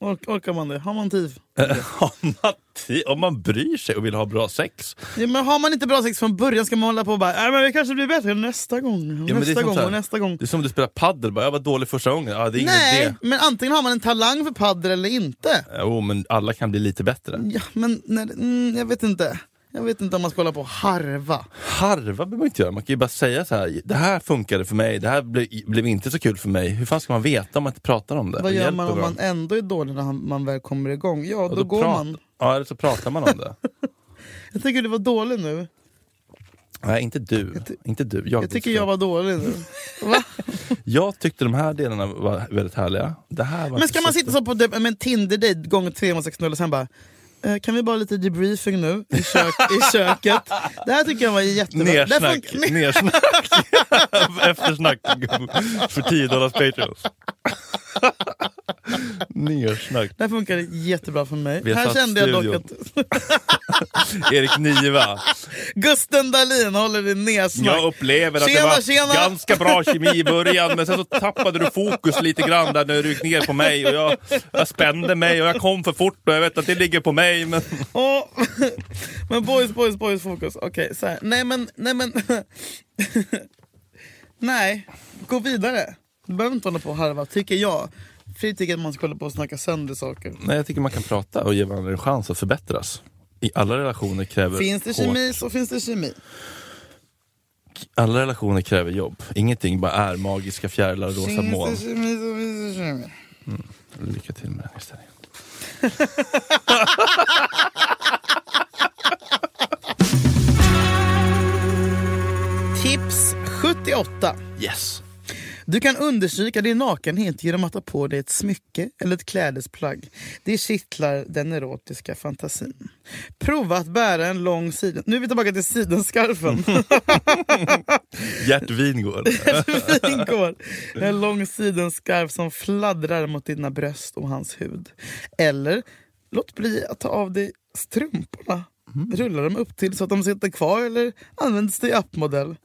Ork, orkar man det? Har man tid?
om, man ti- om man bryr sig och vill ha bra sex.
Ja, men har man inte bra sex från början ska man hålla på och bara "Nej, men vi kanske blir bättre nästa gång,
Ja, men det är
nästa
som
gång
så här-
och nästa gång.
Det är som om du spelar padel, bara, jag var dålig första gången. Ja, det är ingen
Nej,
idé.
men antingen har man en talang för padel eller inte.
Jo, men alla kan bli lite bättre.
Ja, men när, mm, jag vet inte. Jag vet inte om man ska hålla på och harva.
Harva behöver man inte göra, man kan ju bara säga så här. det här funkade för mig, det här ble, blev inte så kul för mig. Hur fan ska man veta om man inte pratar om det?
Vad
och
gör
hjälper
man om
varandra?
man ändå är dålig när han- man väl kommer igång? Ja, då,
Och
går
prat-
man.
Ja, eller så pratar man om det.
Jag tycker du var dålig nu.
Nej, inte du.
ty-
inte du. Jag,
Jag tycker jag var dålig nu.
jag tyckte de här delarna var väldigt härliga. Det här var
Men
inte
ska man sitta så på det- men Tinder-dejt gånger 360 och sen bara "Eh, kan vi bara lite debriefing nu i, kök, i köket? Det här tycker jag var jättebra. Det här
Nersnack.
funkar-
Nersnack. Eftersnack för 10 dollars Patreon. Nersnack.
Det här funkade jättebra för mig.
Vi har
här
satt
kände jag dock
studion.
att
Erik Niva.
Gusten Dahlin håller det
Jag
nedsnack.
upplever att
Tjena,
det var
tjena.
ganska bra kemi i början men sen så tappade du fokus lite grann där när du gick ner på mig och jag, jag spände mig och jag kom för fort och jag vet att det ligger på mig men
Åh, men boys, boys, boys fokus. Okej, så här. Nej men, nej men. nej, gå vidare. Du behöver inte hålla på och harva, tycker jag. Fri tycker att man ska hålla på och snacka sönder saker.
Nej, jag tycker man kan prata och ge varandra en chans att förbättras. I alla relationer kräver
Finns det
hårt-
kemi så finns det kemi.
Alla relationer kräver jobb. Ingenting bara är magiska fjärilar och rosa
Finns
moln.
det kemi så finns det kemi.
Lycka till med den inställningen.
Tips 78.
Yes!
Du kan understryka din nakenhet genom att ta på dig ett smycke eller ett klädesplagg. Det kittlar den erotiska fantasin. Prova att bära en lång siden... Nu är vi tillbaka till sidenskarfen.
Gert Wingård.
Fin går. En lång sidenskarf som fladdrar mot dina bröst och hans hud. Eller låt bli att ta av dig strumporna. Rulla dem upp till så att de sitter kvar eller används till appmodell.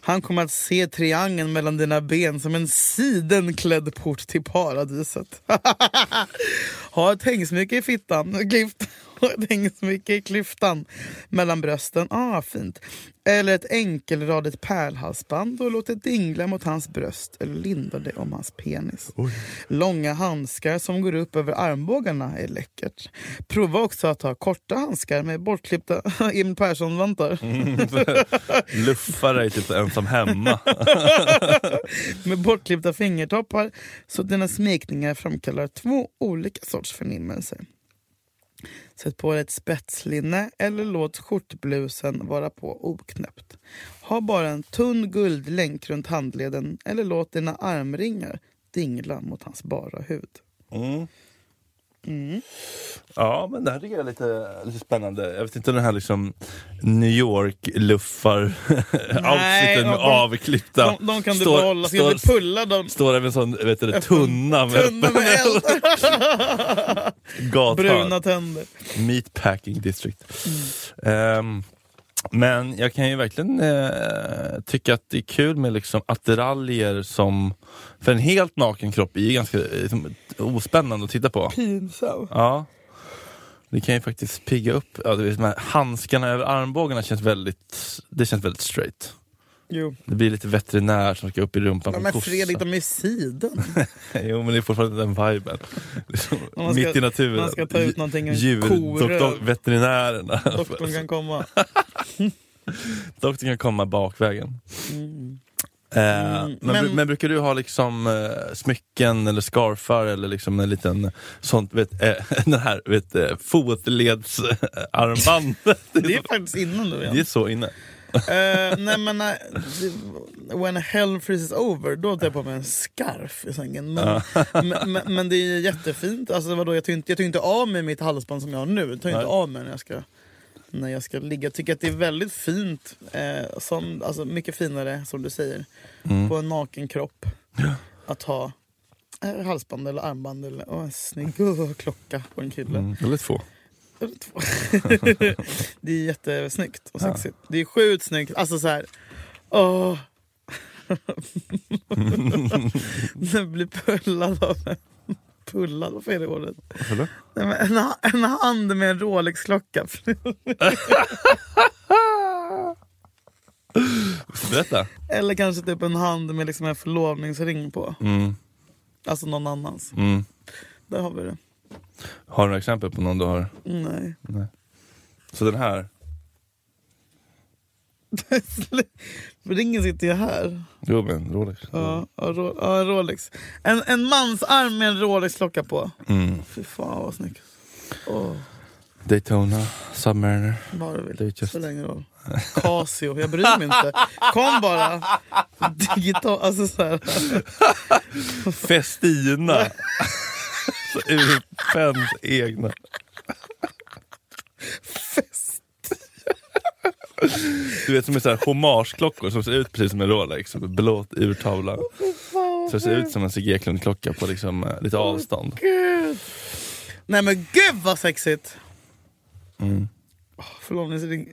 Han kommer att se triangeln mellan dina ben som en sidenklädd port till paradiset. ha ett hängsmycke i fittan. Klyft. Ha ett hängsmycke i klyftan mellan brösten. Ah, fint. Eller ett enkelradigt pärlhalsband och låt det dingla mot hans bröst eller linda det om hans penis. Långa handskar som går upp över armbågarna är läckert. Prova också att ha korta handskar med bortklippta Im Persson-vantar.
Mm. Luffa dig typ ensam hemma.
med bortklippta fingertoppar så att dina smekningar framkallar två olika sorts förnimmelser. Sätt på dig ett spetslinne eller låt skjortblusen vara på oknäppt. Ha bara en tunn guldlänk runt handleden eller låt dina armringar dingla mot hans bara hud.
Mm. Ja, men det här tycker jag är lite, lite spännande. Jag vet inte den här liksom New
Nej,
York-luffar-outfiten med
de-
avklippta.
De, de kan du
Står-
behålla, ska du
står,
pulla dem?
står även sån vet du, det, tunna med,
Tunna med eld.
gathörn.
Bruna tänder.
Meatpacking district. Ehm, men jag kan ju verkligen eh, tycka att det är kul med liksom attiraljer som... För en helt naken kropp är ju ganska eh, liksom, ospännande att titta på.
Pinsam.
Ja. Det kan ju faktiskt pigga upp. Ja, du vet, de här handskarna över armbågarna känns väldigt, det känns väldigt straight.
Jo.
Det blir lite veterinär som ska upp i rumpan på
Ja,
en
men
kossa.
Fredrik, de är i sidan.
Jo men det är fortfarande den viben. Liksom,
Man ska-
mitt i naturen.
Man ska ta ut någonting ur
Djurdoktorn,
koröv.
veterinärerna.
Doktorn kan komma.
Doktorn kan komma bakvägen.
Mm.
Eh,
Mm,
men,
men-
bru- men brukar du ha liksom eh, smycken eller scarfar eller liksom en liten sånt, vet, eh, den här vet, eh, fotledsarmband?
Det är faktiskt innan nu igen.
det är så inne.
Eh, nej men eh, det- when hell freezes over, då tar jag på mig en scarf i sängen. Men, men, men, men det är ju jättefint. Alltså, vadå, jag tar ju inte, jag tar ju inte av mig mitt halsband som jag har nu. Jag tar ju inte
Nej.
av mig när jag ska, när jag ska ligga. Jag tycker att det är väldigt fint. Eh, som, alltså, mycket finare, som du säger,
Mm.
på en naken kropp. Att ha eh, halsband eller armband eller och en snygg åh, klocka på en kille.
Mm, väldigt få.
Eller två. det är jättesnyggt och sexigt. Det är sjukt snyggt. Alltså så här... Åh. Den blir pullad av en... Pullad? Varför är det ordet?
Eller?
Nej, men en, ha- en hand med en Rolex-klocka.
Berätta.
Eller kanske typ en hand med liksom en förlovningsring på.
Mm,
Alltså någon annans.
mm.
Där har vi det.
Har du några exempel på någon du har?
Nej.
Så den här?
Ringen sitter ju här.
Jo men Rolex.
Ja, ja, Ro- ja, en Rolex. En, en mans arm med en Rolex-klocka på.
Mm.
Fy fan vad snyggt. Åh,
Daytona, Submariner.
vad du
Det är
vill.
just-
Spelar ingen roll. Casio, jag bryr mig inte. Kom bara. Digital, alltså så här.
Festina! Så Urpens egna. Du vet som är så här hommageklockor som ser ut precis som en Rolex, som en blåt urtavla. Så det ser ut som en Sigge Eklund-klocka på liksom, eh, lite avstånd.
Gud. Nej men gud vad sexigt.
Mm.
Åh, Förlovningsring.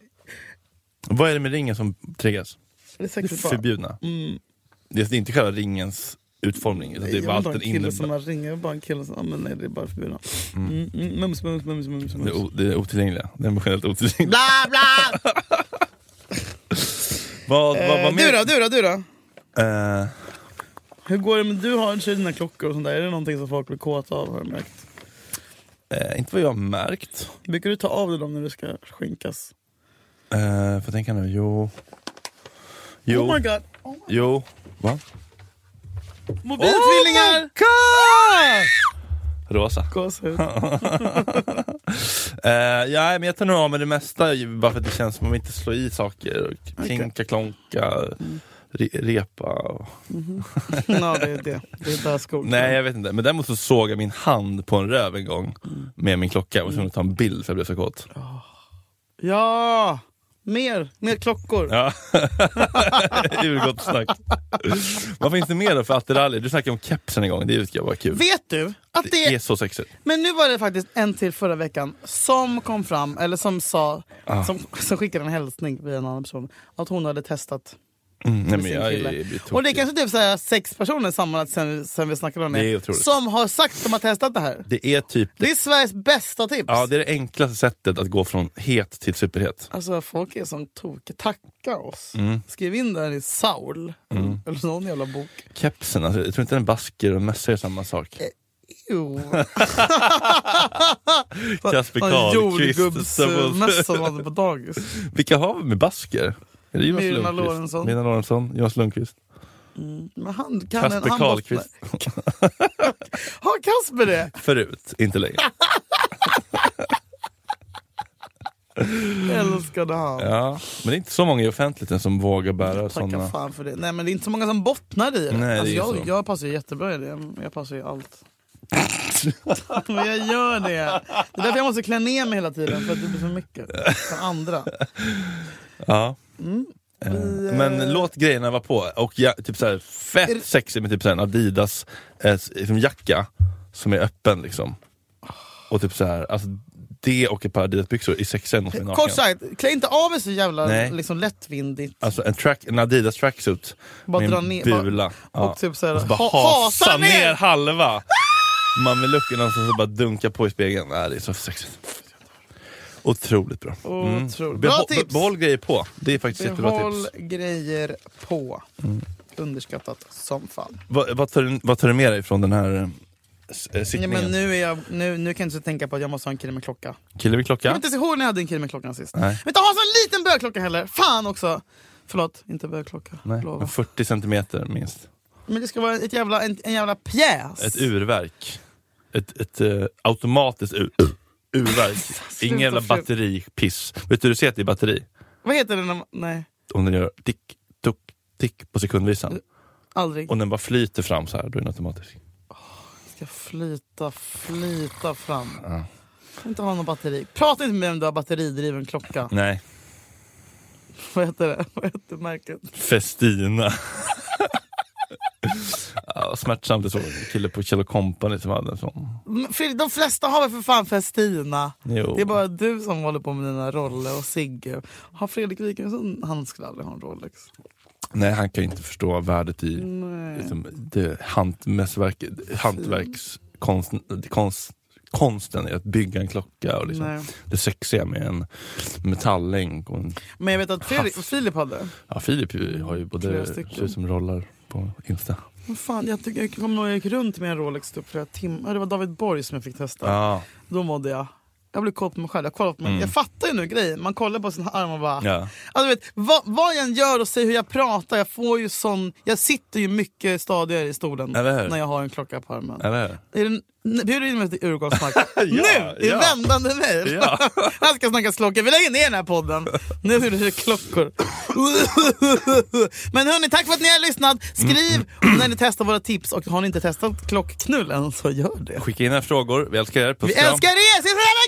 Vad är det med ringen som triggas?
Det är sexigt bara.
Förbjudna?
Mm.
Det är inte själva ringens utformning, utan det
Jag
är
vill
bara
inte ha
allt
en
den
kille som
innebär.
har ringar, jag vill bara ha en kille som... Ja, men nej det är bara förbjudet. Mm, mm, mums, mums, mums, mums,
Det
mums.
är o- Det är otillgängliga. Det är emotionellt otillgängliga.
Bla bla!
Vad, vad, vad
Eh, du
mer?
då, du då, du då?
Eh,
Hur går det med du har inte dina klockor och sånt där? Är det någonting som folk blir kåta av har jag märkt?
eh, inte vad jag har märkt.
Brukar du ta av dig dem när du ska skinkas?
Uh, får tänka nu, jo... Jo,
Oh my god! Oh my-
jo, va?
Mobiltvillingar!
Rosa.
Gåshud.
Eh, ja, men jag tar nog av mig det mesta ju bara för att det känns som om vi inte slår i saker. Och
Okej. Mm.
klinka, klonka, re, repa. Och...
Ja det är det. Det är där skon
Nej, jag vet inte. Men däremot så såg jag min hand på en röv en gång
Mm.
med min klocka. Jag var tvungen att ta en bild för jag blev så kåt.
Ja! Mer, mer klockor.
Ja. Urgott snack. Vad finns det mer då för attiraljer? Du snackade om kepsen en gång, det tycker jag var kul.
Vet du att det
Det är så sexigt.
Men nu var det faktiskt en till förra veckan som kom fram, eller som sa, som, som skickade en hälsning via en annan person, att hon hade testat.
Mm, nej,
med
men
sin
jag,
kille.
är- jag blir
Och det är
tokig.
kanske typ så här sex personer sammanlagt sen, sen vi snackade om det,
Det är otroligt.
som har sagt att de har testat det här.
Det är typ det,
Det är Sveriges bästa tips.
ja, det är det enklaste sättet att gå från het till superhet.
Alltså folk är som tokiga. Tacka oss.
Mm.
Skriv in det här i Saul, eller någon jävla bok.
Kepsen, alltså, jag tror inte en basker och en mössa är samma sak.
Eh. Jo.
Kasper Karlqvist, som-
Jordgubbsmössa som hade på dagis.
Vilka har vi med basker? Är det Jonas
Mirna
Lundqvist?
Lorentzon.
Mirna Lorentzon, Jonas Lundqvist,
Men han kan
Kasper
han måste-
Karlqvist.
Har Kasper det?
Förut, inte längre.
Älskade han.
Ja, men det är inte så många i offentligheten som vågar bära
Tacka
sådana.
fan för det. Nej men det är inte så många som bottnar i det.
Nej, det är
alltså,
ju
jag,
så.
jag passar ju jättebra i det. Jag passar ju allt. Men jag gör det. Det är därför jag måste klä ner mig hela tiden, för att det blir för mycket. Från andra.
Ja.
Mm.
Eh,
Vi, eh,
Men låt grejerna vara på. Och ja, typ så här,
Är det-
fett sexig med typ så här en Adidas eh, s- liksom jacka som är öppen. liksom Och typ så här, alltså det och ett par Adidas-byxor är sexigare än något som är naken.
Kort sagt, klä inte av er så jävla
Nej.
liksom, lättvindigt.
Alltså en, track, en Adidas tracksuit
Bara
med
dra
en
ner. Bara,
bula. Ja.
och typ såhär,
Och så bara
ha, Ah!
hasa ner, halva mamelucken och så bara dunka på i spegeln. Nej, det är så sexigt. Otroligt bra.
Otroligt. Bra
Behåll,
tips!
behåll grejer på. Det är faktiskt jättebra
Behåll
tips. Mm.
grejer på. Underskattat som fan.
Vad, vad, tar, du- vad tar du med dig från den här eh, s- eh,
Ja,
sittningen?
men nu, är jag, nu, nu kan jag inte tänka på att jag måste ha en kille med klocka.
Kille vid
Jag kommer
klocka?
inte ens ihåg när jag hade en kille med klockan sist.
Nej.
Jag vill inte ha en sån liten bögklocka heller. Fan också! Förlåt, inte bögklocka.
Nej.
Lova.
men 40 centimeter minst.
Men det ska vara ett jävla, en, en jävla pjäs.
Ett urverk. Ett, ett eh, automatiskt ur, urverk. Ingen jävla
fru.
batteripiss. Vet du hur du ser att det är batteri?
Vad heter den? när man- Nej,
Om den gör tick, tuck, tick på
Eh.
sekundvisan.
aldrig.
Och den bara flyter fram så här, då är den automatisk.
ska flyta, flyta fram.
Ja.
Kan inte ha någon batteri. Prata inte med mig om du har batteridriven klocka.
Nej.
Vad heter det? Vad heter märket?
Festina. ja, smärtsamt. Jag såg en kille på Kjell Company som hade en sån.
Men Fredrik, de flesta har väl för fan Festina?
Jo.
Det är bara du som håller på med dina roller och Sigge. Har Fredrik Wikingsson, han skulle aldrig ha en Rolex.
Nej, han kan ju inte förstå värdet i
Nej.
liksom, det hantverk, hantverkskonsten konst, konsten i att bygga en klocka och liksom,
Nej.
det sexiga med en metallänk. Och en,
Men jag vet att Fredrik,
Hass.
Filip hade.
ja, Filip ju- har ju
Flera
både
stycken.
tjejer som rollar på Insta.
Men fan, jag, tycker, jag kommer ihåg jag gick runt med en Rolex typ flera timmar. Det var David Borg som jag fick testa.
Ja.
Då mådde jag. Jag blev koll på mig själv. Jag, kollar på mig.
Mm.
jag fattar ju nu grejen. Man kollar på sina armar och bara...
Ja.
Alltså, du vet, vad, vad jag än gör och säger hur jag pratar, jag får ju sån... Jag sitter ju mycket stadigare i stolen
Eller hur?
när jag har en klocka på armen.
Eller hur?
Är det, n- bjuder in mig till urgårdsmark. nu! I
ja.
vändande mejl.
Ja.
Här ska snackas klockor. Vi lägger ner den här podden. Nu är det klockor. Men hörni, tack för att ni har lyssnat. Skriv när ni testar våra tips. Och har ni inte testat klockknullen så gör det.
Skicka in era frågor, vi älskar er. Puss
Vi
och kram.
älskar er! Ses i helgen!